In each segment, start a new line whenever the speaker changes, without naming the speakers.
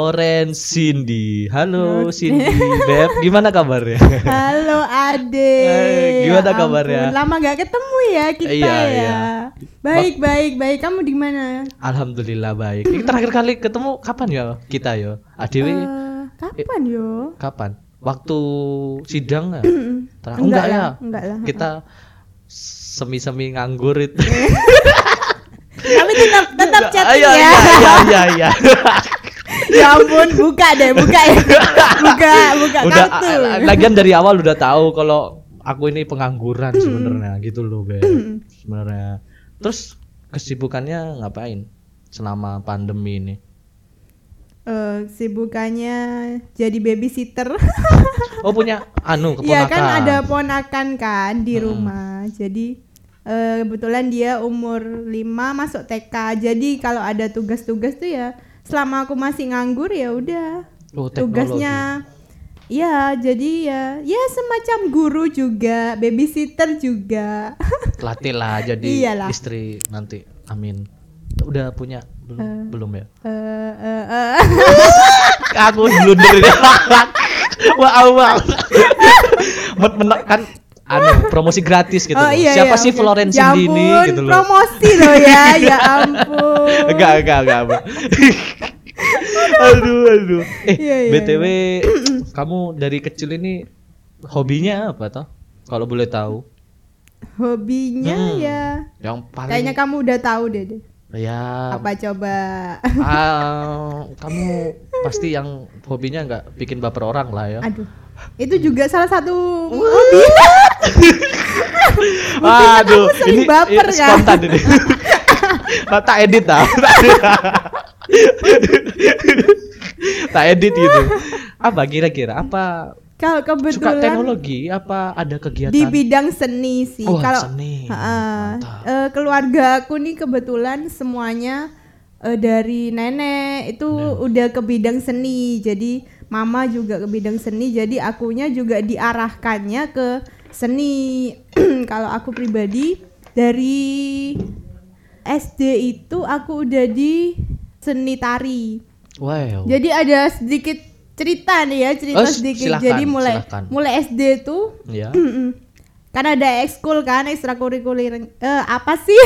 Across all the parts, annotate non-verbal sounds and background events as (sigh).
Florence Cindy. Halo Cindy, Beb. Gimana kabarnya? (laughs)
Halo Ade. Ya
Hai, Eh, gimana kabarnya?
Ampun, Lama gak ketemu ya kita
Iya,
ya.
iya.
Baik baik baik. Kamu di mana?
Alhamdulillah baik. Ini terakhir kali ketemu kapan ya kita ya? Adewi
Eh, kapan yo?
kapan? Waktu sidang ya? Terakhir
Enggak
enggak,
lah,
ya?
enggak lah.
Kita semi-semi nganggur itu.
Tapi tetap tetap
(laughs)
chatting
Iya,
ya.
Iya, iya,
(laughs)
iya.
ya ampun, buka deh, buka
(laughs)
ya. Buka, buka
udah eh,
kartu.
a- lagian dari awal udah tahu kalau aku ini pengangguran
Hmm.
sebenarnya gitu loh, Beb. Sebenarnya. Terus kesibukannya ngapain selama pandemi ini?
Eh, sibukannya jadi babysitter.
Oh punya anu keponakan.
(laughs) Iya kan ada ponakan kan di rumah. Jadi eh, kebetulan dia umur 5 masuk TK. Jadi kalau ada tugas-tugas tuh ya selama aku masih nganggur ya udah.
Oh, teknologi.
Tugasnya ya jadi ya ya semacam guru juga, babysitter juga. (laughs)
Latih lah jadi
Iyalah.
istri nanti. Amin. Udah punya belum? Belum ya? (laughs)
Eh, eh, eh.
Aku blunder ini. (laughs) Wah, (laughs) awal. Met menek kan anu promosi gratis gitu.
Oh,
loh.
iya,
Siapa
iya,
sih
oke.
Florence
Ya
Dini
ampun,
gitu loh.
Promosi loh ya, ya ampun.
(laughs) Enggak, enggak, enggak. enggak. (laughs) aduh, aduh. Eh,
Iya, iya,
BTW (clears throat) kamu dari kecil ini hobinya apa toh? Kalau boleh tahu.
Hobinya
Hmm.
ya.
Yang paling
Kayaknya kamu udah tahu deh. deh.
ya
Apa coba?
Ah, kamu pasti yang hobinya nggak bikin baper orang lah ya.
Aduh, itu juga salah satu
Aduh,
kamu sering baper, kan?
spontan
(laughs)
ini. Nah, tak edit ah. tak edit gitu. Apa kira-kira? Apa
kalau
suka
kebetulan
teknologi? Apa ada kegiatan?
di bidang seni sih.
Wah,
kalau
seni.
Heeh.
Mantap.
Eh, keluarga aku nih kebetulan semuanya eh, dari nenek itu udah ke bidang seni. Jadi mama juga ke bidang seni. Jadi akunya juga diarahkannya ke seni. (clears throat) Kalau aku pribadi dari SD itu aku udah di seni tari.
Wow.
Jadi ada sedikit cerita nih ya, cerita
Oh, s-
sedikit.
silakan,
Jadi mulai
silakan.
mulai SD tuh (laughs)
ya.
Mm-mm. Karena ada ekskul kan, ekstrakurikuler. Eh, apa sih? (laughs)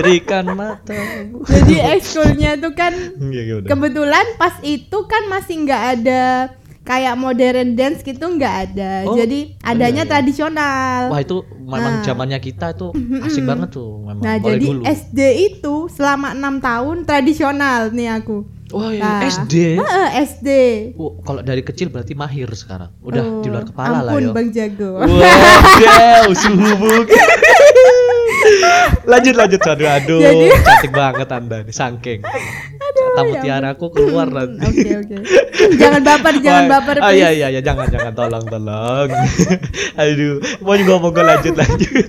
Lirikan mata.
Jadi ekskulnya itu kan
Iya, iya, udah.
kebetulan pas itu kan masih nggak ada kayak modern dance gitu nggak ada.
Oh,
Jadi adanya tradisional.
Wah, itu memang
Nah. Mm-hmm,
zamannya kita itu asik banget tuh memang.
nah,
mulai
jadi
dulu.
SD itu selama enam tahun tradisional nih aku.
Wah, iya,
Nah,
SD.
Heeh, SD.
Wah, Oh, kalau dari kecil berarti mahir sekarang. Udah
Oh,
di luar kepala lah ya.
ampun,
yo.
Bang Jago.
Wow, suhu
(laughs)
bukit. lanjut lanjut aduh aduh
(laughs) Jadi- ya
cantik banget anda nih sangking tamu tiaraku keluar nanti
Oke,
(laughs)
oke. Jangan baper, Hmm, jangan
Wah,
baper.
ah,
please.
iya iya iya jangan jangan tolong tolong (laughs) aduh mau juga mau lanjut
(laughs)
lanjut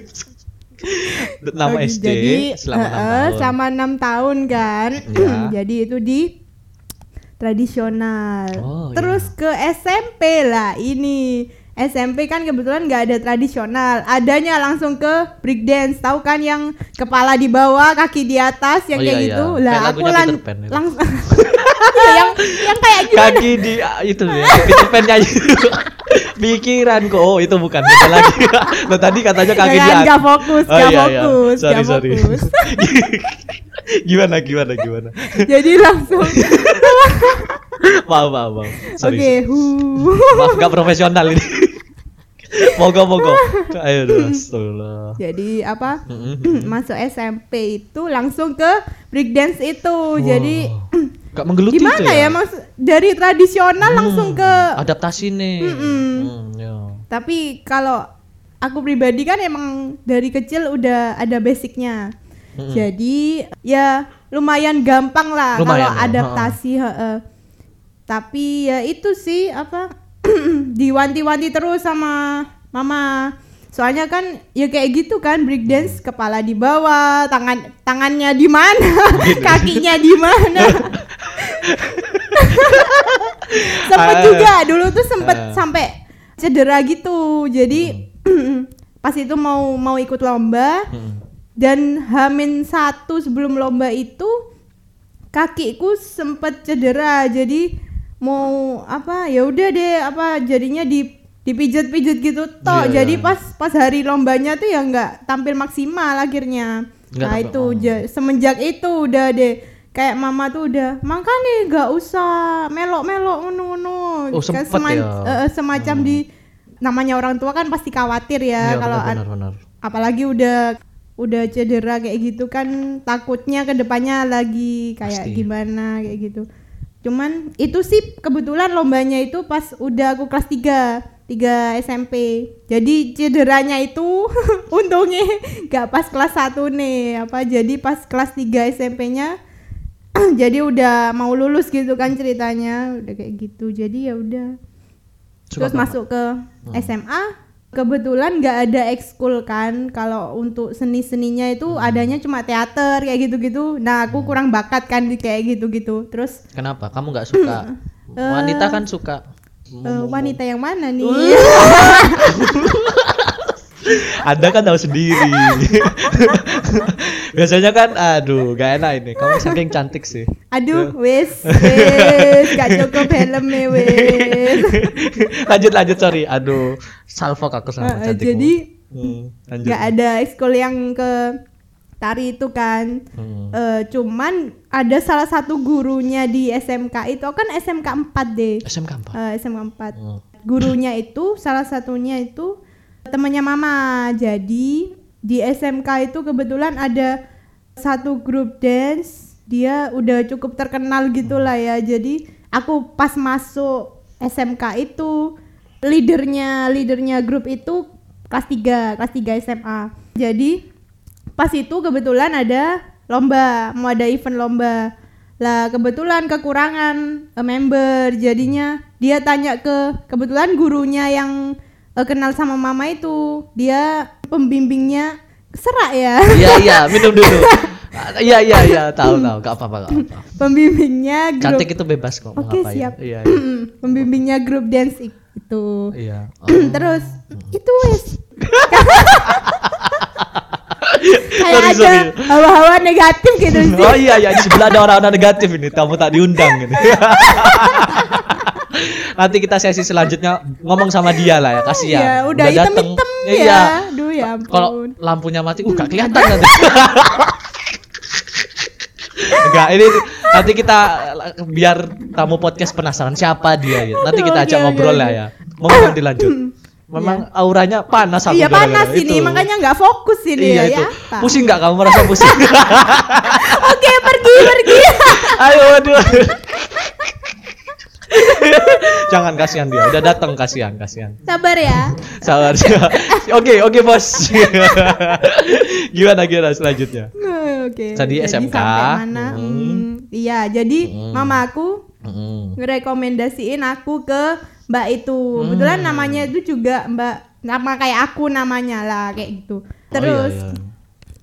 nama
Oke,
SD
jadi,
selama enam
eh,
tahun
selama enam tahun kan
Iya.
jadi itu di tradisional
Oh,
terus ke SMP lah ini SMP kan kebetulan nggak ada tradisional adanya langsung ke break dance tahu kan yang kepala di bawah kaki di atas yang
Oh, iya,
kayak
iya.
gitu
Kayak
lah aku
lagunya
lan
Peter Pan itu. (laughs)
langsung Iya, yang yang kayak gitu
kaki di ah, itu ya Peter Pan nyanyi (laughs) pikiranku oh itu bukan bukan lagi (laughs) nah tadi katanya kaki di
Jangan,
atas.
kan. nggak fokus,
Oh, iya,
nggak
iya.
fokus,
sorry
nggak
sorry
fokus.
(laughs) gimana gimana gimana
jadi langsung
maaf maaf maaf sorry
oke
(laughs)
hu
sorry. maaf gak profesional ini (laughs) mogo mogo ayo dulu astagfirullah
Jadi apa? (laughs)
Mm-mm.
masuk SMP itu langsung ke breakdance itu. Oh, Jadi
Wow. gak menggeluti
gimana
itu Hmm.
ya? Maksud dari tradisional langsung ke
adaptasi nih
Mm-mm.
Hmm, ya.
tapi kalau aku pribadi kan emang dari kecil udah ada basicnya.
Mm-mm.
Jadi ya lumayan gampang lah kalau
Lumayan ya,
adaptasi heeh. Tapi ya itu sih apa (clears throat) diwanti-wanti terus sama mama. Soalnya kan ya kayak gitu kan breakdance kepala di bawah, tangan tangannya di mana,
Gitu.
(laughs) kakinya di
(laughs)
mana. (laughs) sempet
Ah.
juga Iya, dulu tuh sempet
Ah.
sampai cedera gitu. Jadi (clears throat) pas itu mau mau ikut lomba
Hmm, Mm-mm.
dan Hamin satu sebelum lomba itu kakiku sempet cedera jadi mau apa ya udah deh apa jadinya di dipijat-pijat gitu toh
Iya,
jadi
iya.
pas pas hari lombanya tuh ya nggak tampil maksimal akhirnya
Nggak
nah
tampil,
itu
oh.
ja- semenjak itu udah deh kayak mama tuh udah makanya nggak usah melok-melok ngono-ngono
Oh,
Kayak
sempet ya.
eh, eh, semacam di namanya orang tua kan pasti khawatir ya
Iya,
kalau an-
benar, benar, benar.
apalagi udah udah cedera kayak gitu kan takutnya kedepannya lagi kayak
Pasti.
gimana kayak gitu cuman itu sih kebetulan lombanya itu pas udah aku kelas 3 3 SMP jadi cederanya itu (laughs) untungnya nggak pas kelas 1 nih apa jadi pas kelas 3 SMP-nya (clears throat) jadi udah mau lulus gitu kan ceritanya udah kayak gitu jadi ya udah
Suka
Terus
banget.
masuk ke
Hmm.
SMA, kebetulan nggak ada ekskul kan. Kalau untuk seni-seninya itu
Hmm.
adanya cuma teater kayak gitu-gitu. Nah, aku kurang bakat kan di kayak gitu-gitu. Terus
Kenapa? Kamu nggak
(clears throat)
suka? Wanita kan suka. hmm,
eh, wanita yang mana nih?
Anda kan tahu sendiri. (laughs) Biasanya kan, aduh, gak enak ini. Kamu saking cantik sih. (laughs) Eh.
Aduh, wes, wes, gak cukup helmnya Eh, wes.
(laughs) lanjut, lanjut, sorry. Aduh, salvo aku sama
Eh, eh,
cantikmu.
jadi
Hmm, lanjut.
nggak ada ekskul yang ke tari itu kan.
Hmm.
Eh, cuman ada salah satu gurunya di SMK itu kan SMK 4 deh.
SMK apa?
Eh, SMK 4.
Hmm.
gurunya itu salah satunya itu temannya mama jadi di SMK itu kebetulan ada satu grup dance dia udah cukup terkenal gitulah ya jadi aku pas masuk SMK itu leadernya leadernya grup itu kelas 3 kelas 3 SMA jadi pas itu kebetulan ada lomba mau ada event lomba lah kebetulan kekurangan eh, member jadinya dia tanya ke kebetulan gurunya yang eh, kenal sama mama itu dia pembimbingnya serak ya (laughs)
Iya, iya, minum dulu. Ah, Iya, iya, iya, tahu, tahu. Gak apa-apa, gak apa-apa.
pembimbingnya grup
Cantik itu bebas kok. mau
Oke,
ngapain.
siap.
Iya, iya.
pembimbingnya grup dance i- itu
iya.
(clears throat) terus itu
(laughs)
wes kayak
Sorry,
ada
sorry.
hawa-hawa negatif gitu sih
(laughs) Oh iya iya di sebelah ada orang-orang negatif ini kamu tak diundang
(laughs)
gitu. Nanti kita sesi selanjutnya ngomong sama dia lah ya kasihan.
ya udah
dateng.
hitam-hitam ya,
Iya.
Duh, ya
Kalau
ampun
lampunya mati, uh gak kelihatan nanti. (laughs) Enggak, ini nanti kita biar tamu podcast penasaran siapa dia gitu. Nanti kita ajak
Oke, oke,
ngobrol lah
oke.
ya. Mohon
(clears throat)
dilanjut. Memang auranya panas aku
Iya
gara-gara
panas
itu.
ini, makanya nggak fokus ini
Iya
ya.
itu.
(laughs) apa?
Pusing nggak kamu merasa pusing?
(laughs) Oke pergi pergi. (laughs)
Ayo, aduh. Jangan kasihan dia, udah datang kasihan, kasihan.
Sabar ya.
Sabar. Oke, oke, Bos. gimana gimana selanjutnya?
Eh, Oke.
Tadi SMK.
sampai mana?
Hmm.
Hmm, Iya jadi
Hmm.
mama aku
Mm.
ngerekomendasiin aku ke mbak itu. Kebetulan namanya itu juga mbak nama kayak aku namanya lah kayak gitu. Terus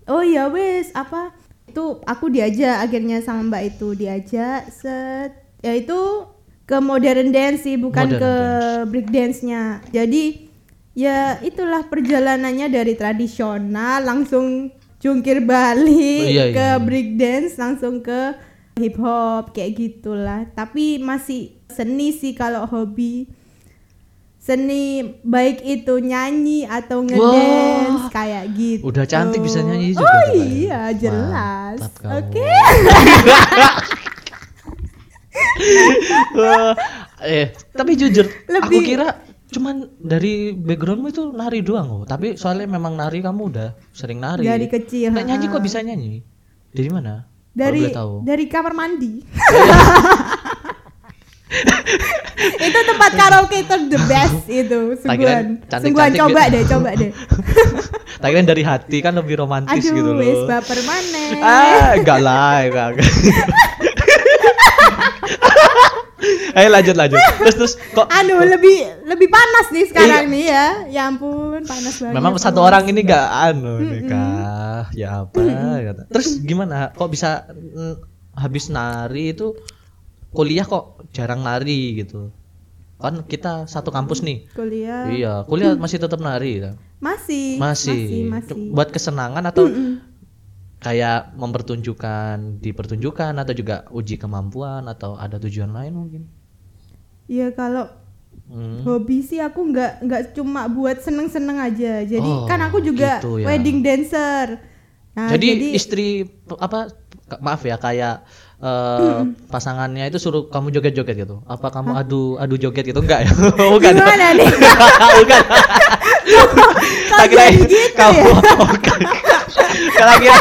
Oh, iya, iya.
Oh iya wes apa itu aku diajak akhirnya sama Mbak itu diajak set ya itu ke modern dance sih bukan
Modern
ke break dance-nya. Jadi ya itulah perjalanannya dari tradisional langsung jungkir balik
Oh, iya,
ke
iya, iya.
break dance langsung ke hip hop kayak gitulah. Tapi masih seni sih kalau hobi seni baik itu nyanyi atau ngedance kayak gitu
Udah cantik bisa nyanyi juga
oh
katanya.
iya jelas
Mantap kamu.
oke
Wah, eh, tapi jujur, aku
Lebih-
kira cuman dari backgroundmu itu nari doang loh. Tapi soalnya memang nari kamu udah sering nari.
dari kecil
Nggak nyanyi
ha.
kok bisa nyanyi? Dari mana? Kalau
dari
boleh tahu. (laughs)
dari kamar mandi itu tempat karaoke itu the
(laughs)
best itu sungguhan
cantik-cantik gitu.
sungguhan
bi-
coba deh coba
(laughs)
deh
Tak kira dari hati kan lebih romantis
aduh
gitu loh.
wes baper mana
Ah, enggak lah, enggak.
(laughs)
enggak. Ayo Eh, lanjut lanjut. Terus terus kok
aduh Anu, lebih lebih panas nih sekarang nih ya ya ampun panas banget
Iya. memang satu orang ini enggak anu ini kah? Ya apa kata. Terus gimana? Kok bisa mm, habis nari itu kuliah kok jarang nari gitu. Kan kita satu kampus nih.
kuliah
Iya, kuliah masih tetap nari. kan?
masih
Masih.
masih, masih.
Buat kesenangan atau kayak mempertunjukkan di pertunjukan atau juga uji kemampuan atau ada tujuan lain mungkin
Iya kalau
Hmm.
hobi sih aku nggak nggak cuma buat seneng-seneng aja. Jadi
Oh,
kan aku juga
gitu ya.
wedding dancer. Nah,
jadi, istri p- apa k- maaf ya kayak eh, pasangannya itu suruh kamu joget-joget gitu apa kamu adu adu joget gitu enggak ya (laughs) bukan
gimana
(laughs)
nih?
bukan
Kok
Tak kirain
jadi gitu
kamu Ya,
ya?
(laughs) bukan. Karena kira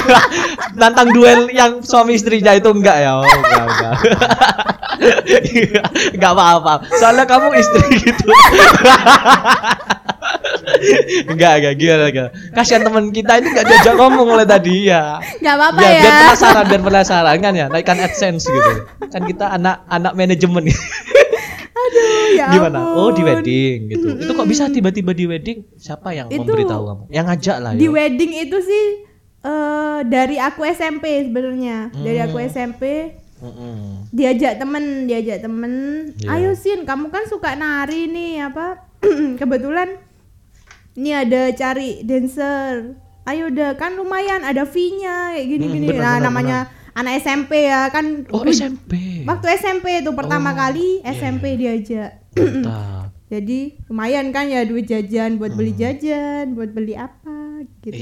nantang duel yang suami istrinya itu enggak ya. Oh, enggak, enggak. (laughs) enggak apa-apa. Soalnya kamu istri (laughs) gitu. enggak, enggak gimana enggak. Kasihan teman kita ini enggak diajak ngomong oleh tadi ya.
Nggak apa-apa
ya,
ya.
biar penasaran, biar penasaran kan ya, naikkan AdSense gitu. Kan kita anak-anak manajemen gitu.
Aduh, ya
(laughs) Gimana? Oh, di
ampun.
wedding gitu. Itu kok bisa tiba-tiba di wedding? Siapa yang
Itu-
memberitahu kamu? Yang ngajak lah
Di
ya.
wedding itu sih eh, dari aku SMP sebenarnya. Dari aku
Hmm.
SMP
Mm-mm.
diajak temen diajak temen
Iya.
ayo sin kamu kan suka nari nih apa (clears throat) kebetulan ini ada cari dancer ayo udah kan lumayan ada fee nya kayak gini
Hmm,
gini
benar,
nah
benar,
namanya anak SMP ya kan
Oh
Wih,
SMP.
waktu SMP tuh
Oh,
pertama kali
iya,
SMP diajak
Mantap.
(clears throat) jadi lumayan kan ya duit jajan buat beli jajan buat beli apa gitu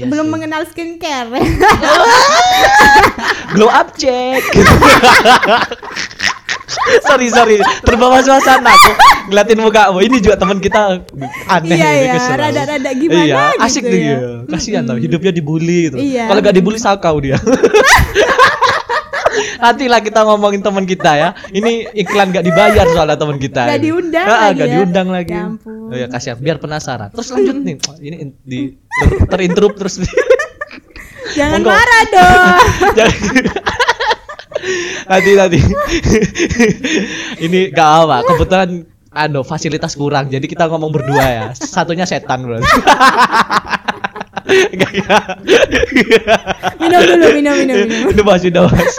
Hmm. Iya
belum
sih.
mengenal skincare (laughs)
Glow up check. (laughs) sorry sorry terbawa suasana aku ngeliatin mukamu ini juga teman kita aneh
Iya,
ini,
iya.
kesel aku.
Rada-rada gimana
iya,
gitu
asik tuh
ya.
dia kasihan tau hidupnya dibully gitu
Iya.
kalau gak dibully sakau
(laughs)
dia nanti lah kita ngomongin teman kita ya ini iklan gak dibayar soalnya teman kita
Gak
ini.
diundang
Ah,
lagi
gak
ya.
diundang lagi
Ya ampun.
oh ya kasihan biar penasaran terus lanjut
(laughs)
nih ini in- di ter- terinterrupt terus
jangan
Monggo.
marah
(laughs)
dong
Jadi- nanti nanti (laughs) ini gak apa kebetulan anu fasilitas kurang jadi kita ngomong berdua ya satunya setan (laughs) berarti Gak, gak.
minum dulu minum minum minum
(laughs) Udah mas, udah mas.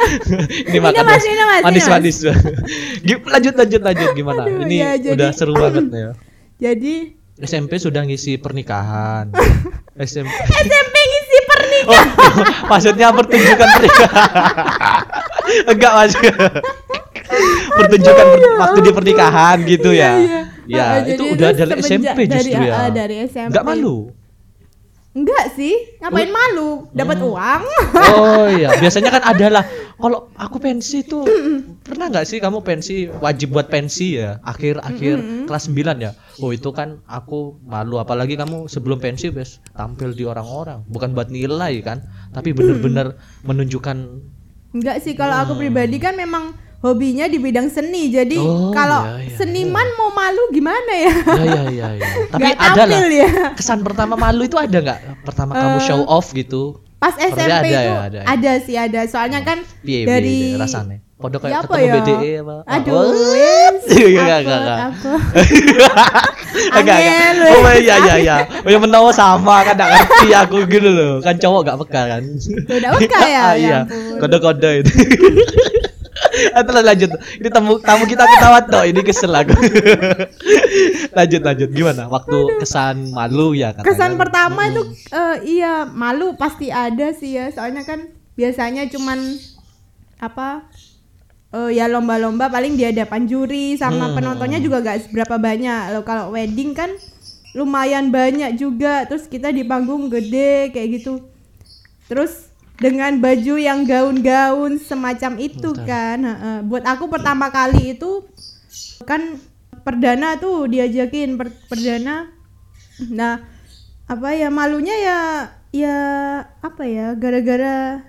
Ini makan
Mas, ini Mas, ini
manis
Mas.
manis. Gim- lanjut lanjut lanjut gimana?
Aduh,
ini
ya, jadi-
udah seru banget ya.
jadi
SMP sudah ngisi pernikahan. SMP.
SMP ngisi pernikahan
Oh, (laughs) maksudnya pertunjukan pernikahan. (laughs) Enggak
(laughs)
mas. pertunjukan per- waktu di pernikahan gitu ya.
Iya, iya.
Ya,
Ah, jadi
itu udah
itu
dari
semenjak
SMP
dari-
justru ya.
ah, dari SMP.
Enggak malu.
Enggak sih, ngapain malu? Dapat uang. (laughs)
Oh iya, biasanya kan adalah kalau aku pensi tuh pernah nggak sih kamu pensi wajib buat pensi ya akhir akhir kelas 9 ya. Oh itu kan aku malu apalagi kamu sebelum pensi bes tampil di orang-orang bukan buat nilai kan tapi bener-bener menunjukkan
Enggak sih, kalau
Hmm.
aku pribadi kan memang hobinya di bidang seni. Jadi
Oh,
kalau
iya, iya,
seniman mau malu gimana ya?
ya ya ya ya. (laughs) Tapi
Nggak
ada lah
tampil ya.
kesan pertama malu itu ada nggak pertama
Eh,
kamu show off gitu?
Pas
Seperti
SMP
ada
itu
ya,
ada,
ada ya.
sih ada. Soalnya kan
Piye piye
dari
deh rasanya? Pondok
Ya
kayak
apa
ketemu
ya?
BDE apa?
Aduh,
Oh. (laughs)
wes.
Iya, nggak,
Apa,
nggak, nggak.
apa.
Agak
Angel,
agak. Oh iya iya iya. Oh yang menawa sama kan gak ngerti aku gitu loh. Kan cowok gak peka kan.
Udah oke
(laughs)
ya.
Ah,
ya
iya.
ampun.
Kode-kode itu. (laughs) Ah, Terus lanjut. Ini tamu tamu kita ketawa toh. Ini kesel aku. (laughs) lanjut lanjut gimana? Waktu kesan malu ya katanya.
Kesan pertama itu eh, iya malu pasti ada sih ya. Soalnya kan biasanya cuman apa eh, ya lomba-lomba paling di hadapan juri sama penontonnya juga gak seberapa banyak. Loh kalau wedding kan lumayan banyak juga. Terus kita di panggung gede kayak gitu. Terus dengan baju yang gaun-gaun semacam itu kan. heeh. Buat aku pertama kali itu kan perdana tuh diajakin per- perdana nah apa ya malunya ya ya apa ya gara-gara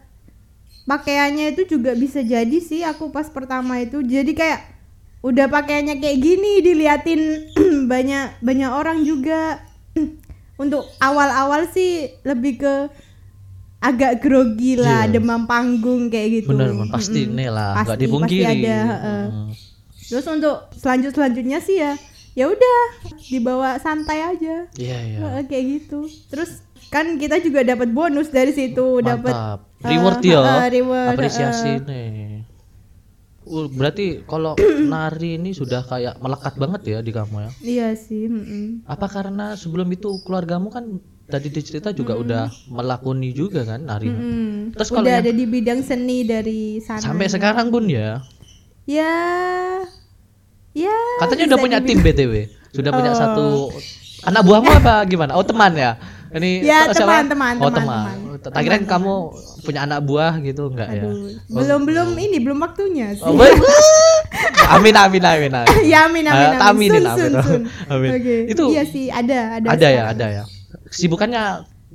pakaiannya itu juga bisa jadi sih aku pas pertama itu jadi kayak udah pakaiannya kayak gini diliatin (clears throat) banyak banyak orang juga (clears throat) untuk awal-awal sih lebih ke agak grogi lah
Iya.
demam panggung kayak gitu
Bener, Mon. pasti
Mm-mm.
nih lah, nggak
Pasti-
dipungkiri.
pasti ada heeh.
Mm.
Terus untuk selanjut selanjutnya sih ya, ya udah dibawa santai aja,
Iya iya.
Heeh, kayak gitu. Terus kan kita juga dapat bonus dari situ, dapat
Mantap. Reward
eh,
ya.
eh, reward,
Apresiasi
eh.
nih. Uh, berarti kalau nari ini sudah kayak melekat banget ya di kamu ya.
iya sih. mm-mm.
Apa karena sebelum itu keluargamu kan tadi dicerita juga udah melakoni juga kan nari.
Mm-mm.
Terus kalau
udah
yang-
ada di bidang seni dari sana.
Sampai sekarang pun ya.
Ya, ya.
Katanya udah
bisa
punya tim
dibilang-
BTW. Sudah punya
Oh.
satu anak buahmu apa gimana? Oh, teman ya. Ini
Ya,
oh, siapa?
teman, teman,
Oh,
teman,
teman.
teman.
Tak kirain kamu punya anak buah gitu enggak ya?
Aduh, belum belum ini belum waktunya sih.
Oh, baik. (laughs) amin amin amin. amin.
(laughs) ya amin
Eh,
amin amin.
aminin,
Sun, sun,
amin.
sun.
Amin.
Oke.
Itu
Iya sih ada ada.
ada ya
sekarang.
ada ya kesibukannya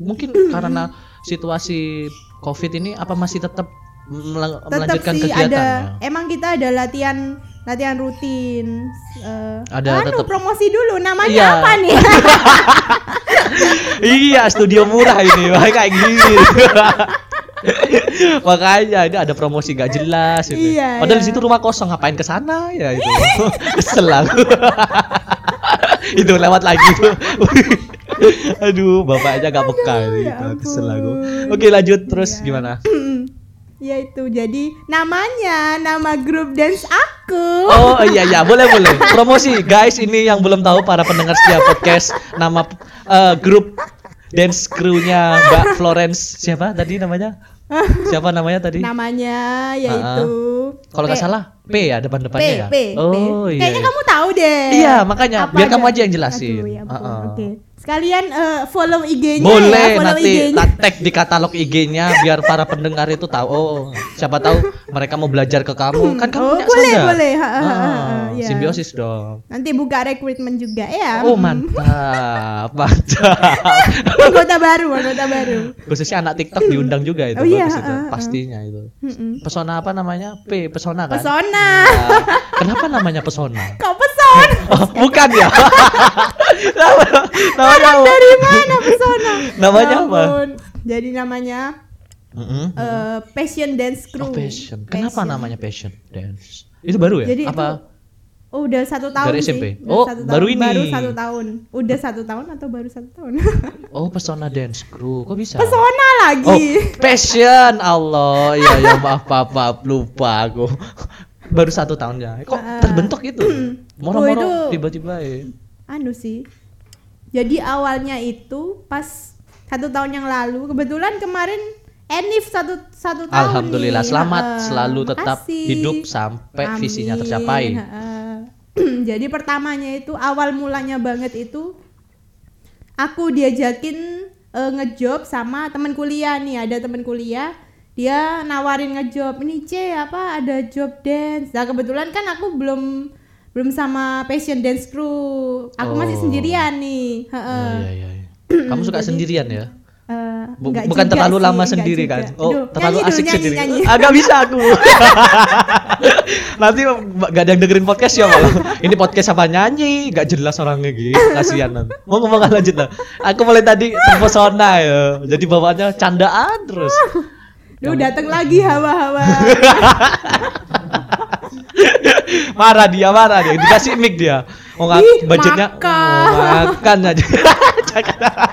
mungkin karena situasi covid ini apa masih tetap mel-
Tetap
melanjutkan
sih
kegiatan
ada.
ya?
Emang kita ada latihan latihan rutin. Eh,
Ada
anu,
tetap.
promosi dulu namanya
Iya.
apa nih? (laughs)
iya studio murah ini
(laughs)
wah kayak gini (laughs) makanya ini ada promosi gak jelas ini.
Iya,
padahal
iya.
di situ rumah kosong ngapain ke sana ya itu (laughs) kesel aku. (laughs) itu lewat lagi (laughs) tuh aduh bapaknya gak peka ini
ya
gitu. kesel aku
ampun.
oke lanjut terus
Iya.
gimana
ya itu jadi namanya nama grup dance aku.
Oh iya iya boleh boleh promosi guys ini yang belum tahu para pendengar setiap podcast nama eh, grup dance crew-nya Mbak Florence siapa tadi namanya siapa namanya tadi
Namanya yaitu
kalau nggak
P-
salah P ya depan
P,
depannya ya
P, P.
oh iya
Kayaknya
iya.
kamu tahu deh.
Iya, makanya. Biar kamu aja yang jelasin.
Aduh, ya ampun.
Heeh.
Oke. Sekalian eh, follow IG-nya
boleh
ya, follow
nanti
IG-nya.
tak tag di katalog IG-nya biar para pendengar itu tahu oh siapa tahu mereka mau belajar ke kamu kan kamu
Oh,
punya
boleh,
saudara.
boleh. Ha, ha, ha, ha,
Ah,
iya.
simbiosis dong
Nanti buka recruitment juga ya.
oh
Mm.
mantap mantap
(laughs) anggota baru, anggota baru.
Kan. khususnya anak TikTok diundang juga itu
Oh iya,
bagus itu,
ah, ah.
pastinya itu
Mm-mm.
pesona apa namanya P pesona kan
Pesona.
Iya. kenapa namanya pesona
Kok peson?
oh, bukan
(laughs)
ya Nama- namanya apa
Dari mana pesona?
(laughs) Namanya
Ya
apa?
ampun. Jadi namanya
Mm-mm.
eh, Passion Dance Crew.
oh, passion kenapa
Passion.
namanya passion dance itu baru ya
Jadi
apa
itu Oh, udah satu tahun
Dari
sih.
SMP?
Udah
Oh,
satu
baru
tahun.
ini.
Baru satu tahun. Udah satu tahun atau baru satu tahun?
oh pesona dance crew kok bisa
(laughs) Pesona lagi.
oh passion Allah ya ya maaf maaf, maaf, lupa aku (laughs) baru satu tahun ya kok
Ah.
terbentuk gitu
Oh,
moro-moro
itu-
tiba-tiba ya
anu sih. Jadi awalnya itu pas satu tahun yang lalu kebetulan kemarin Enif satu satu tahun.
Alhamdulillah
nih.
selamat
Ha-ha.
selalu tetap
Makasih.
hidup sampai
eh, Amin.
visinya tercapai.
Ha-ha. (clears throat) Jadi pertamanya itu awal mulanya banget itu aku diajakin eh, ngejob sama temen kuliah nih ada temen kuliah dia nawarin ngejob ini C apa ada job dance nah kebetulan kan aku belum belum sama passion dance crew aku masih
Oh.
sendirian nih Heeh.
Iya, iya, iya. Kamu suka sendirian ya?
Eh,
Bu-
nggak
bukan
juga
terlalu
sih,
lama
nggak
sendiri
juga.
kan? Oh,
Aduh,
terlalu
nyanyi dulu,
asik
nyanyi,
sendiri.
nyanyi.
Ah, nggak bisa aku. Nanti gak ada yang dengerin podcast ya malah. Ini podcast apa nyanyi? Gak jelas orangnya gitu. Kasihan nanti. Mau ngomong lanjut lah. Aku mulai tadi terpesona ya. Jadi bawaannya candaan terus.
Duh, datang lagi
(laughs)
hawa-hawa.
marah dia marah dia dikasih mic dia oh nggak
Ih,
budgetnya
makan.
Oh, makan aja (laughs) jangan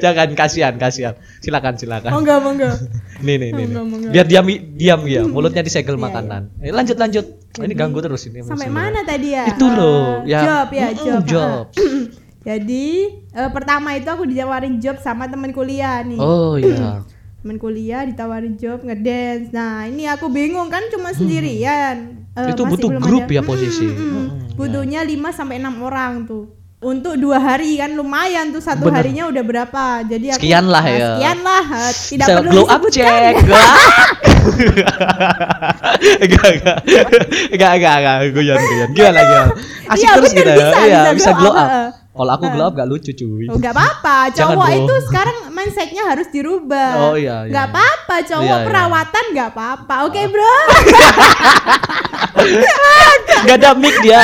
jangan kasihan kasihan silakan silakan
oh enggak, oh, enggak.
nih nih nih, nih.
Enggak, enggak.
biar diam diam ya mulutnya disegel
Iya, Hmm.
makanan Eh, lanjut lanjut ini ganggu terus ini
Sampai
sebenarnya.
mana tadi ya?
itu
Eh,
loh ya
Job ya,
Mm-mm,
job.
job.
Jadi eh, pertama itu aku ditawarin job sama temen kuliah nih.
oh iya
Temen kuliah ditawarin job ngedance. Nah ini aku bingung kan cuma sendirian. Eh,
Itu
masih
butuh
belum
grup ya
ada-
posisi.
Mm, mm, mm.
Mm, ya.
Butuhnya 5 sampai enam orang tuh. Untuk dua hari kan lumayan tuh satu
Bener.
harinya udah berapa. Jadi aku
Sekian lah
Nah,
ya.
Sekian lah. eh, Tidak
Saya
perlu
glow up
disebutkan.
check.
(laughs)
Enggak enggak. Enggak enggak enggak guyon guyon. Gimana gimana? Asik
Iya,
terus
bener,
kita.
bisa,
Iya,
bisa
bisa glow
glow up, Nah.
up.
heeh.
Kalau aku glow up enggak lucu cuy.
Oh, nggak apa-apa,
Jangan
cowok
dong.
itu sekarang mindsetnya harus dirubah.
Oh, iya, iya.
Nggak apa-apa, cowok
Iya, Ah. iya.
perawatan nggak apa-apa. Oke
(laughs)
bro,
Enggak ada mic dia.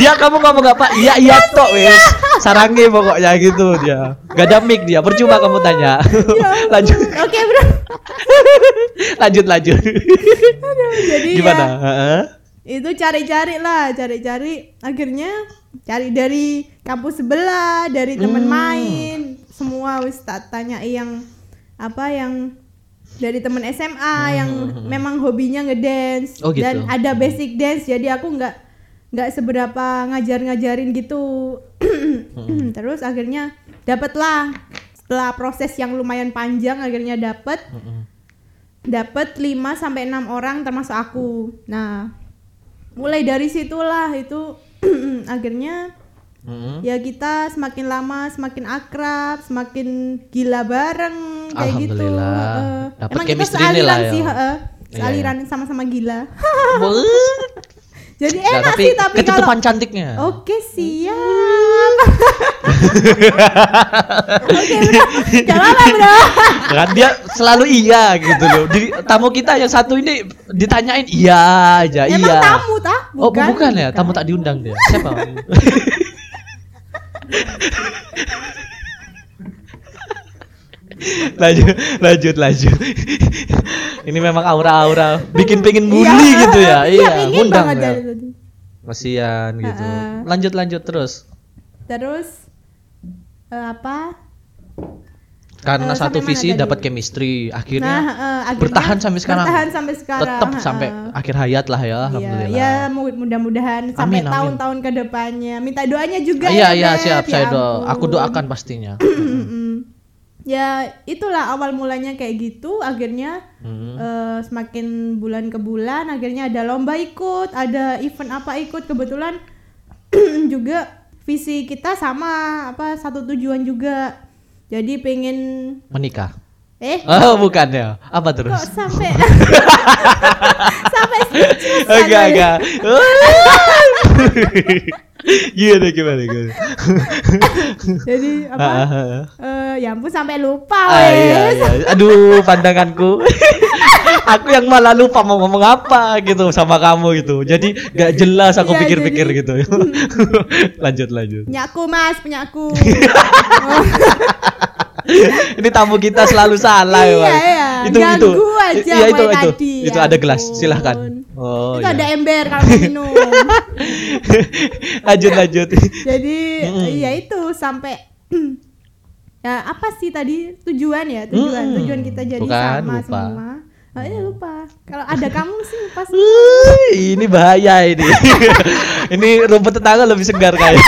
Dia kamu ngomong apa? Iya iya tok wis. Sarangi pokoknya gitu dia. Enggak ada mic dia. Percuma kamu tanya.
Iya.
(laughs) lanjut
oke bro. (laughs)
lanjut lanjut.
Jadi
Gimana?
ya
Heeh.
itu cari-cari lah, cari-cari. Akhirnya cari dari kampus sebelah, dari
Hmm.
teman main, semua wis tak tanya yang apa yang dari teman SMA yang memang hobinya ngedance
Hmm, Oh, gitu.
dan ada basic dance jadi aku nggak
Hmm.
nggak seberapa ngajar-ngajarin gitu (clears throat) terus akhirnya dapatlah setelah proses yang lumayan panjang akhirnya dapat
Mm-mm.
dapat 5 sampai 6 orang termasuk aku. Nah, mulai dari situlah itu (clears throat) akhirnya
Mm-mm.
ya kita semakin lama semakin akrab, semakin gila bareng kayak gitu.
Alhamdulillah.
Heeh.
Dapet
Emang kita
chemistry-nya
sealiran
lah ya.
sih, heeh.
Iya,
Sealiran sama-sama gila. (laughs)
Wuh.
Jadi
Nah,
Ah. enak
tapi,
sih tapi kalau Oh,
ketutupan cantiknya.
Oke
(laughs)
siap. Oke bro, gak apa-apa
(laughs)
bro.
kan dia selalu iya gitu loh. Di, tamu kita yang satu ini ditanyain iya aja,
Emang
iya.
tamu tah?
oh, bu- bukan ya, tamu tak diundang dia. Siapa? (laughs) lanjut, lanjut, lanjut. ini memang aura-aura bikin pengen bully
Iya,
gitu ya. Iya,
ingin
ngundang
banget
ya.
dari tadi.
Kasihan gitu.
Ha-ha.
Lanjut, lanjut terus.
Terus eh, apa?
Karena
Eh,
satu
sampai mana
visi
tadi?
dapat chemistry,
nah,
akhirnya
eh, akhirnya
bertahan sampai sekarang.
Bertahan sampai sekarang. eh,
tetap sampai akhir hayat lah ya,
Iya,
alhamdulillah.
ya mu- mudah-mudahan sampai
amin.
tahun-tahun ke depannya. Minta doanya juga
Ah, Iya
ya,
iya
Beb.
siap
Ya
saya do.
ampun.
Aku doakan
(clears throat)
pastinya.
Mm-mm. Ya, itulah awal mulanya kayak gitu, akhirnya
Hmm.
eh, semakin bulan ke bulan akhirnya ada lomba ikut, ada event apa ikut kebetulan (clears throat) juga visi kita sama apa satu tujuan juga. Jadi pengen
Menikah.
eh
Oh bukan ya. Apa
kok
terus?
sampai sampai
(laughs)
speechless
Enggak
aku.
enggak. (laughs) Gimana Iya, gimana gimana.
Jadi apa?
Ah, ah, ah.
eh, ya ampun sampai lupa
Ah, iya,
wes.
iya. Aduh pandanganku. (laughs) aku yang malah lupa mau ngomong apa gitu sama kamu gitu. Jadi gak jelas aku
Iya,
pikir-pikir
jadi-
gitu. (laughs) lanjut lanjut.
Punyaku Mas, punyaku.
(laughs) Ini tamu kita selalu salah ya. Mas.
Iya, iya.
Itu itu.
Ganggu aja
iya itu
mulai
itu.
tadi,
itu
ya
ada gelas,
ampun.
silahkan. (laughs) Oh.
itu
iya. (laughs)
ada ember kalau mau minum.
lanjut lanjut.
Jadi
Mm-mm.
ya itu sampai (clears throat) ya apa sih tadi tujuan ya tujuan
Mm-mm.
tujuan kita jadi
Bukan,
sama
lupa.
semua. Oh, iya lupa.
(laughs)
Kalau ada kamu sih pas
Wuih, ini bahaya ini. (laughs) ini rumput tetangga lebih segar kayak.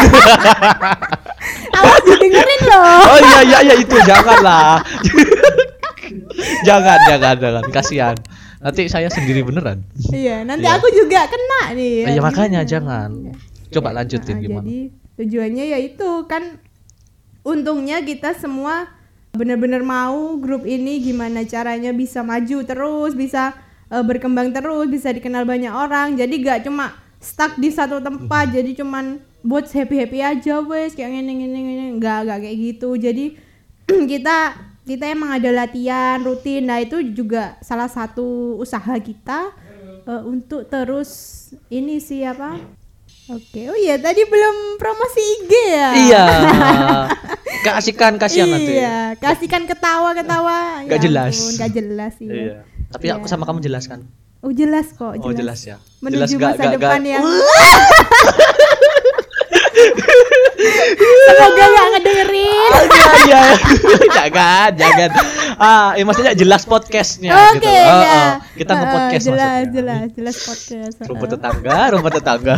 awas didengerin loh.
(laughs) Oh iya iya iya itu janganlah. (laughs) jangan jangan jangan kasihan. Nanti saya sendiri beneran.
Iya, nanti
Iya.
aku juga kena nih.
Ya,
Gimana?
makanya jangan. Coba lanjutin
iya, Nah,
gimana.
Jadi tujuannya ya itu kan untungnya kita semua benar-benar mau grup ini gimana caranya bisa maju terus, bisa eh, berkembang terus, bisa dikenal banyak orang. Jadi gak cuma stuck di satu tempat. Jadi cuman buat happy happy aja wes kayak gini gini gini nggak nggak kayak gitu jadi (clears throat) kita kita emang ada latihan rutin nah itu juga salah satu usaha kita eh, untuk terus ini siapa Oke, oh iya tadi belum promosi IG ya? (laughs)
Iya. Keasikan kasihan nanti.
Iya, kasihkan ketawa-ketawa. Ya
Gak jelas.
ampun, Gak jelas iya.
Iya. Tapi aku
Iya.
sama kamu jelaskan.
Oh jelas kok, jelas.
Oh jelas ya.
Menuju
jelas
masa depan
ya.
yang
(laughs)
Semoga gak ngedengerin.
Iya, (laughs) jangan, jangan. Ah, eh, maksudnya jelas podcastnya.
Oke,
gitu.
ya.
Oh, oh, kita
Eh, eh,
nge-podcast
jelas,
maksudnya.
jelas, jelas podcast.
Rumput
eh.
tetangga, rumput tetangga.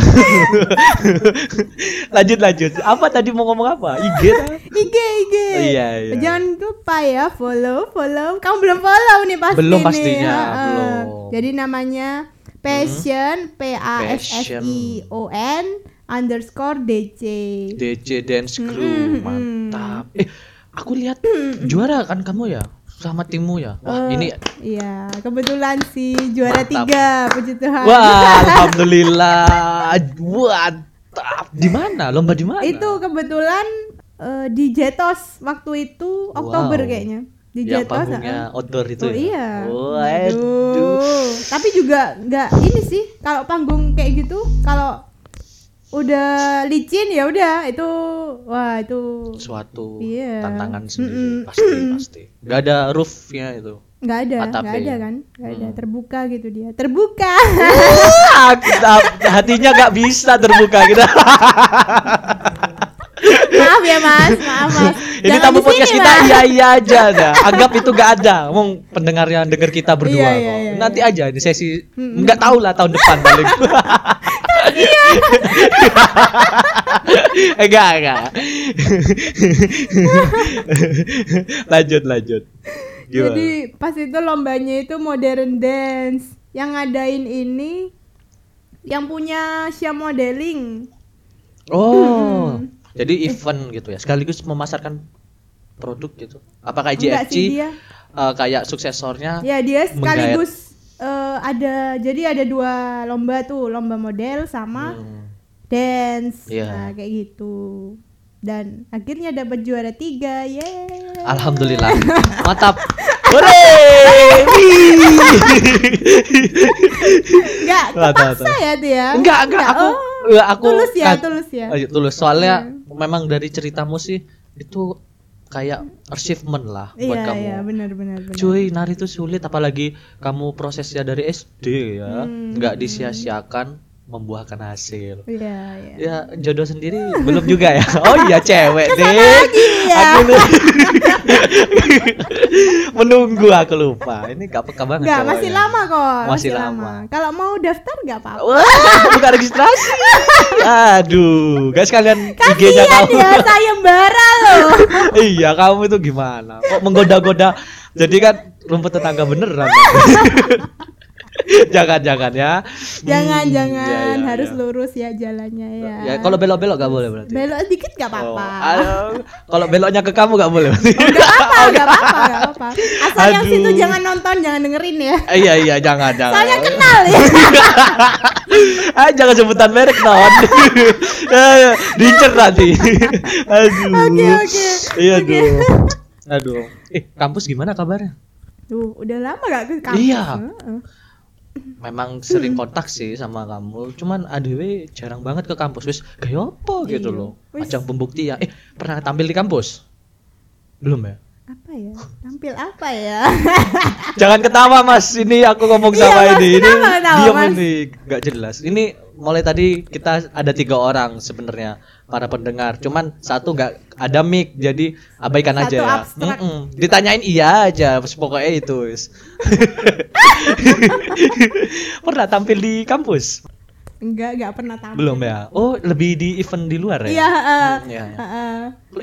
(laughs) lanjut, lanjut. Apa tadi mau ngomong apa? IG? tah?
IG, IG.
Iya, iya.
Jangan lupa ya follow, follow. Kamu belum follow nih pasti
Belum
nih,
pastinya,
ha-ha.
belum. Hmm.
Jadi namanya Passion P A S S I O N underscore DC.
DC Dance
Hmm,
Crew,
Mm-mm, mm-mm.
mantap. Eh, aku lihat juara kan kamu ya, sama timmu ya. Wah,
Hmm, Eh,
ini.
Iya, kebetulan sih juara
Mantap.
tiga, puji Tuhan.
Wah, alhamdulillah. Mantap. Di mana? Lomba di mana?
Itu kebetulan eh, di Jetos waktu itu Oktober
Wow.
kayaknya. Di
yang
Jetos. ha-ha.
panggungnya outdoor itu
Oh
ya?
iya.
Waduh.
Tapi juga nggak ini sih kalau panggung kayak gitu kalau udah licin ya udah itu wah itu
Suatu
Iya.
tantangan
Mm-mm.
sendiri pasti pasti. Gak ada roofnya itu.
nggak ada
Atapnya
nggak ada
ya.
kan nggak ada terbuka gitu dia terbuka (laughs)
Wah, Ah, kita- hatinya gak bisa terbuka gitu. kita.
maaf ya mas maaf mas
(laughs) Ini
Jangan
tamu
di
podcast
sini,
kita
Mas.
iya iya aja dah. Anggap itu gak ada. Omong pendengar yang denger kita berdua
Iya, iya,
kok.
iya,
Nanti
iya. (laughs)
aja di sesi nggak tahu lah tahun depan paling. enggak enggak lanjut lanjut Gimana?
Jadi pas itu lombanya itu modern dance. Yang ngadain ini yang punya Sia Modeling.
oh jadi event gitu ya sekaligus memasarkan produk gitu apakah
Enggak
JFC
sih dia.
eh, kayak suksesornya
Ya dia
Menggayat.
sekaligus eh, ada jadi ada dua lomba tuh, lomba model sama
Hmm.
dance.
Iya.
Nah, kayak gitu. Dan akhirnya dapat juara tiga, yeay. (laughs)
Alhamdulillah. Mantap. Hore!
Enggak,
Lah, tahu,
terpaksa ya tuh ya.
Enggak, enggak aku
oh.
eh, aku
tulus ya,
kag-
tulus ya. Iya.
eh, tulus. Soalnya memang dari ceritamu sih itu kayak achievement lah buat
Iya,
kamu.
iya, benar benar benar.
Cuy, nari itu sulit apalagi kamu prosesnya dari SD ya.
Hmm.
Enggak disia-siakan membuahkan hasil.
Iya, iya.
Ya, jodoh sendiri belum juga
(laughs)
ya. Oh iya, cewek deh.
ya.
Aku lu- (laughs) menunggu aku lupa. Ini gak peka banget.
Enggak,
cowoknya.
masih lama kok.
Masih lama. Oh,
Kalau mau daftar enggak apa-apa.
Wah, buka registrasi. Aduh, guys kalian IG-nya
Kasihan
kamu. (laughs)
ya, sayembara loh.
iya, kamu itu gimana? Kok menggoda-goda? Jadi kan rumput tetangga
(laughs)
beneran. jangan jangan ya.
Jangan,
Hmm,
jangan.
ya, ya,
Harus
ya.
lurus ya jalannya ya.
Ya, kalau belok-belok gak boleh berarti.
belok dikit enggak
Oh,
apa-apa. (laughs)
aduh, kalau beloknya ke kamu gak boleh. (laughs) berarti.
Enggak apa-apa, enggak apa-apa, enggak apa-apa. Asal yang
Aduh.
situ jangan nonton, jangan dengerin ya.
iya iya jangan jangan.
Soalnya
(laughs)
kenal ya.
ah jangan sebutan merek non (laughs) Eh, diincer nanti (laughs) aduh
Oke, oke.
iya
Oke.
aduh
(laughs)
aduh eh kampus gimana kabarnya
Duh, udah lama gak ke kampus?
Iya.
Heeh.
memang sering kontak sih sama kamu cuman ADW jarang banget ke kampus wis kayak apa gitu
Iya.
loh
Wis.
ajang pembuktian eh pernah tampil di kampus belum ya
Apa ya? Tampil apa ya? (laughs)
jangan ketawa mas ini aku ngomong
Iya,
sama
Mas,
ini ini
kenapa ketawa,
diam
Mas?
ini nggak jelas ini mulai tadi kita ada tiga orang sebenarnya para pendengar cuman satu nggak ada mic jadi abaikan
Satu
aja ya
abstrak.
Mm-mm. ditanyain iya aja wis, pokoknya itu wis. (laughs) pernah tampil di kampus
Enggak, enggak pernah tampil.
belum ya oh lebih di event di luar ya
Iya, heeh.
Hmm, iya, iya.
Heeh.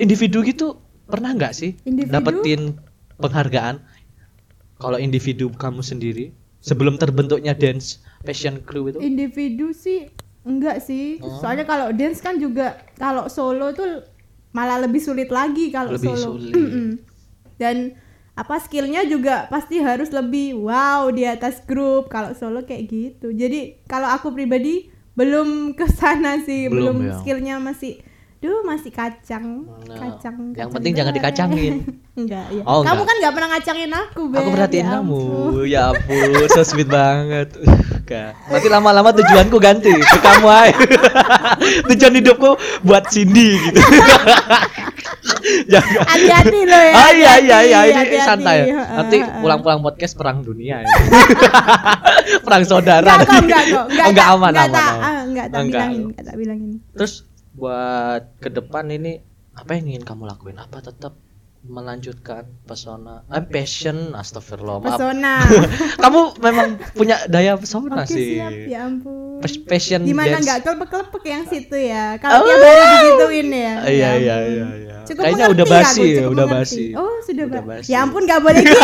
individu gitu pernah nggak sih
Individu?
dapetin penghargaan kalau individu kamu sendiri sebelum terbentuknya dance passion crew itu
individu sih enggak sih
Oh.
soalnya kalau dance kan juga kalau solo tuh malah lebih sulit lagi kalau
Lebih
solo
sulit.
Mm-mm. dan apa skillnya juga pasti harus lebih wow di atas grup kalau solo kayak gitu jadi kalau aku pribadi belum kesana sih
Belum ya.
belum, skillnya masih duh masih kacang
Nah,
kacang
yang
kacang
penting jangan
doang.
dikacangin.
(laughs) enggak ya
Oh,
kamu
enggak.
kan nggak pernah ngacangin aku Ben
aku perhatiin
Ya
kamu
ampun.
ya
(laughs)
ampun so sweet banget Enggak. nanti lama-lama tujuanku ganti ke kamu aja (laughs) tujuan hidupku buat Cindy
(laughs)
gitu jangan
hati-hati loh ya
Ah iya iya
hati-hati,
iya ini
hati-hati.
santai.
Heeh,
Nanti
heeh.
pulang-pulang podcast perang dunia ya. (laughs) perang saudara.
Enggak
nanti.
kok, enggak kok.
Oh, enggak
tak-
aman
enggak
aman.
tak-
aman.
ah, enggak tak
Enggak.
bilangin, enggak tak bilangin.
Terus buat ke depan ini apa yang ingin kamu lakuin? Apa tetap melanjutkan pesona eh, passion astagfirullah maaf
Pesona.
(laughs) kamu memang punya daya pesona
Oke,
sih
siap. Ya ampun.
Pas- passion
Gimana
dance.
enggak kelepek-kelepek yang situ ya. Kalau dia
Oh.
baru digituin ya.
Ah, iya,
Ya
iya,
ampun.
iya, iya.
Cukup
Kayaknya
mengerti
udah
aku,
basi ya,
cukup
udah
mengerti.
basi.
Oh, sudah
Udah
basi.
basi.
Ya ampun enggak boleh gitu.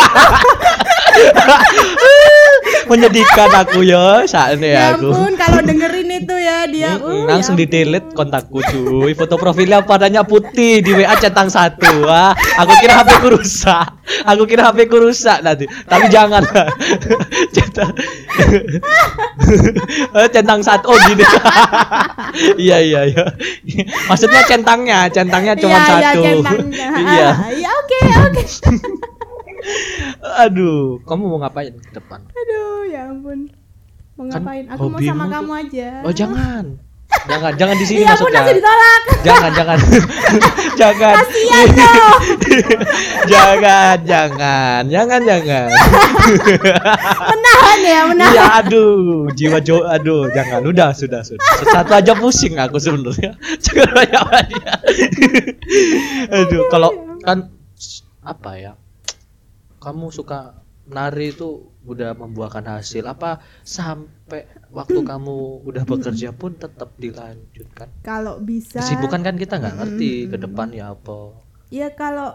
menyedihkan aku (laughs) ya saatnya
ya
aku
ampun kalau dengerin itu ya dia.
Mm-mm,
uh,
langsung
ya
di delete kontakku cuy foto profilnya padanya putih di WA centang satu wah aku kira HP ku rusak aku kira HP ku rusak nanti tapi jangan (laughs) centang (laughs) Eh, centang satu oh gini (laughs) iya iya iya maksudnya centangnya centangnya cuma
Iya,
satu
Iya, centangnya.
(laughs)
(laughs)
iya
Ah, Ya oke, oke.
aduh kamu mau ngapain ke depan
Aduh, ya ampun. Mau
Kan
ngapain? Aku mau
hobimu
sama
tuh-
kamu aja.
oh jangan jangan jangan di sini
Iya, aku
maksudnya
langsung ditolak. (laughs)
jangan jangan jangan
Kasihan dong.
(laughs) jangan jangan jangan jangan
Menahan ya, menahan.
iya aduh jiwa jo aduh jangan udah sudah sudah satu aja pusing aku sebenarnya (laughs) jangan banyak (laughs) banyak aduh kalau kan apa ya kamu suka nari itu udah membuahkan hasil apa sampai waktu kamu udah bekerja pun tetap dilanjutkan
Kalau bisa
kesibukan kan kita nggak ngerti ke depannya apa
Ya kalau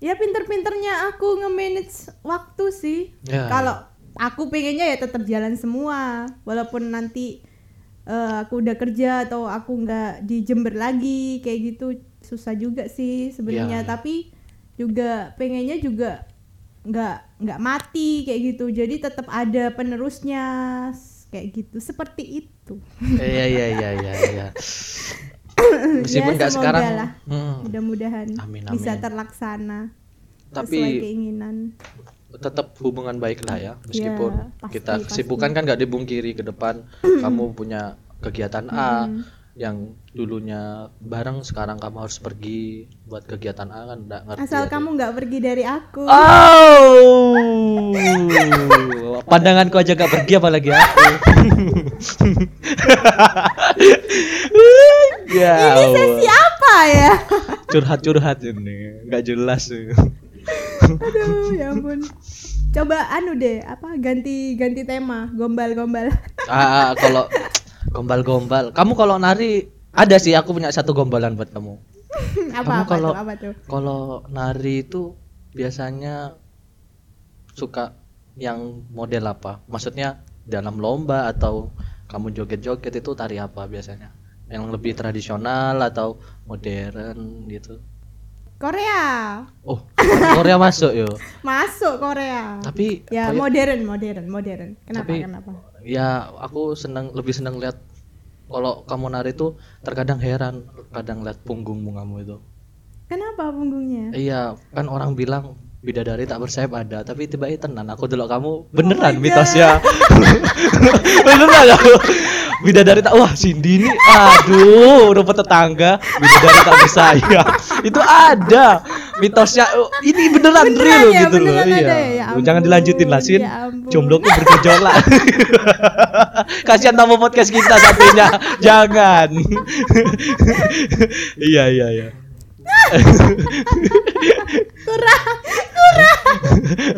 ya pinter-pinternya aku nge-manage waktu sih.
Ya.
Kalau aku pengennya ya tetap jalan semua, walaupun nanti eh, aku udah kerja atau aku nggak di Jember lagi kayak gitu susah juga sih sebenarnya.
Ya.
Tapi juga pengennya juga nggak nggak mati kayak gitu. Jadi tetap ada penerusnya s- kayak gitu seperti itu.
iya iya iya iya iya meskipun nggak
semoga
sekarang
lah.
hmm,
Mudah-mudahan
Amin,
bisa
amin.
terlaksana sesuai
tapi
keinginan.
tetap hubungan baik lah ya meskipun
Ya, pasti,
kita
pasti. Hmm.
kesibukan kan nggak dibungkiri ke depan kamu punya kegiatan A yang dulunya bareng sekarang kamu harus pergi buat kegiatan A kan nggak ngerti ya.
Asal kamu nggak pergi dari aku. (laughs)
Oh, pandanganku aja gak pergi apalagi
(laughs)
aku. ya, Allah.
Siapa ya?
curhat-curhat ini, nggak jelas.
Aduh, ya ampun. Coba anu deh, apa ganti ganti tema, gombal-gombal. (laughs)
ah, ah, kalau gombal-gombal, kamu kalau nari ada sih, aku punya satu gombalan buat kamu. Kamu
apa apa
kalau-
tuh? Apa tuh?
Kalau nari itu biasanya suka yang model apa? Maksudnya dalam lomba atau kamu joget-joget itu tari apa biasanya? Yang lebih tradisional atau modern gitu?
Korea.
Oh, Korea masuk yo.
Masuk Korea.
Tapi
ya
kayak-
modern, modern, modern. Kenapa?
Tapi-
Kenapa?
ya aku seneng lebih seneng lihat kalau kamu nari itu terkadang heran kadang lihat punggungmu kamu itu.
Kenapa punggungnya?
Iya, kan orang bilang bidadari tak bersayap ada, tapi tiba-tiba tenan aku delok kamu
Oh
beneran mitosnya. (laughs) beneran aku. Bidadari tak wah Cindy ini aduh rumput tetangga bidadari tak bersayap. Itu ada mitosnya oh, ini beneran,
Beneran
real
ya,
gitu loh.
beneran
Iya.
ada ya, ya
Loh, Jangan
ampun,
dilanjutin lah Sin.
ya ampun.
Jombloku bergejolak. (laughs) Kasihan tamu podcast kita satunya. Jangan. iya iya iya.
Kurang.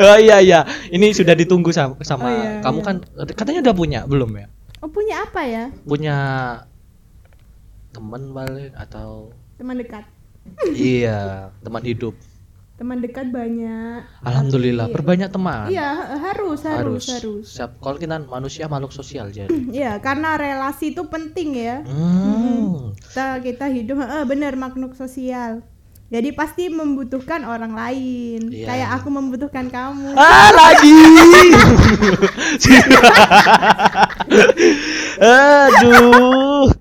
Oh iya iya, ini sudah ditunggu sama, sama
Oh, iya,
kamu
iya.
kan katanya udah punya belum ya?
Oh, punya apa ya?
Punya teman balik atau
Teman dekat.
iya teman hidup.
Teman dekat banyak.
Alhamdulillah,
Tapi-
perbanyak teman.
Iya, harus, harus, harus.
Siap, kalau kita manusia makhluk sosial jadi.
Iya, karena relasi itu penting ya.
Hmm.
kita kita hidup eh, bener makhluk sosial jadi pasti membutuhkan orang lain
Iya.
kayak aku membutuhkan kamu
Ah
(laughs)
lagi. (laughs) Aduh.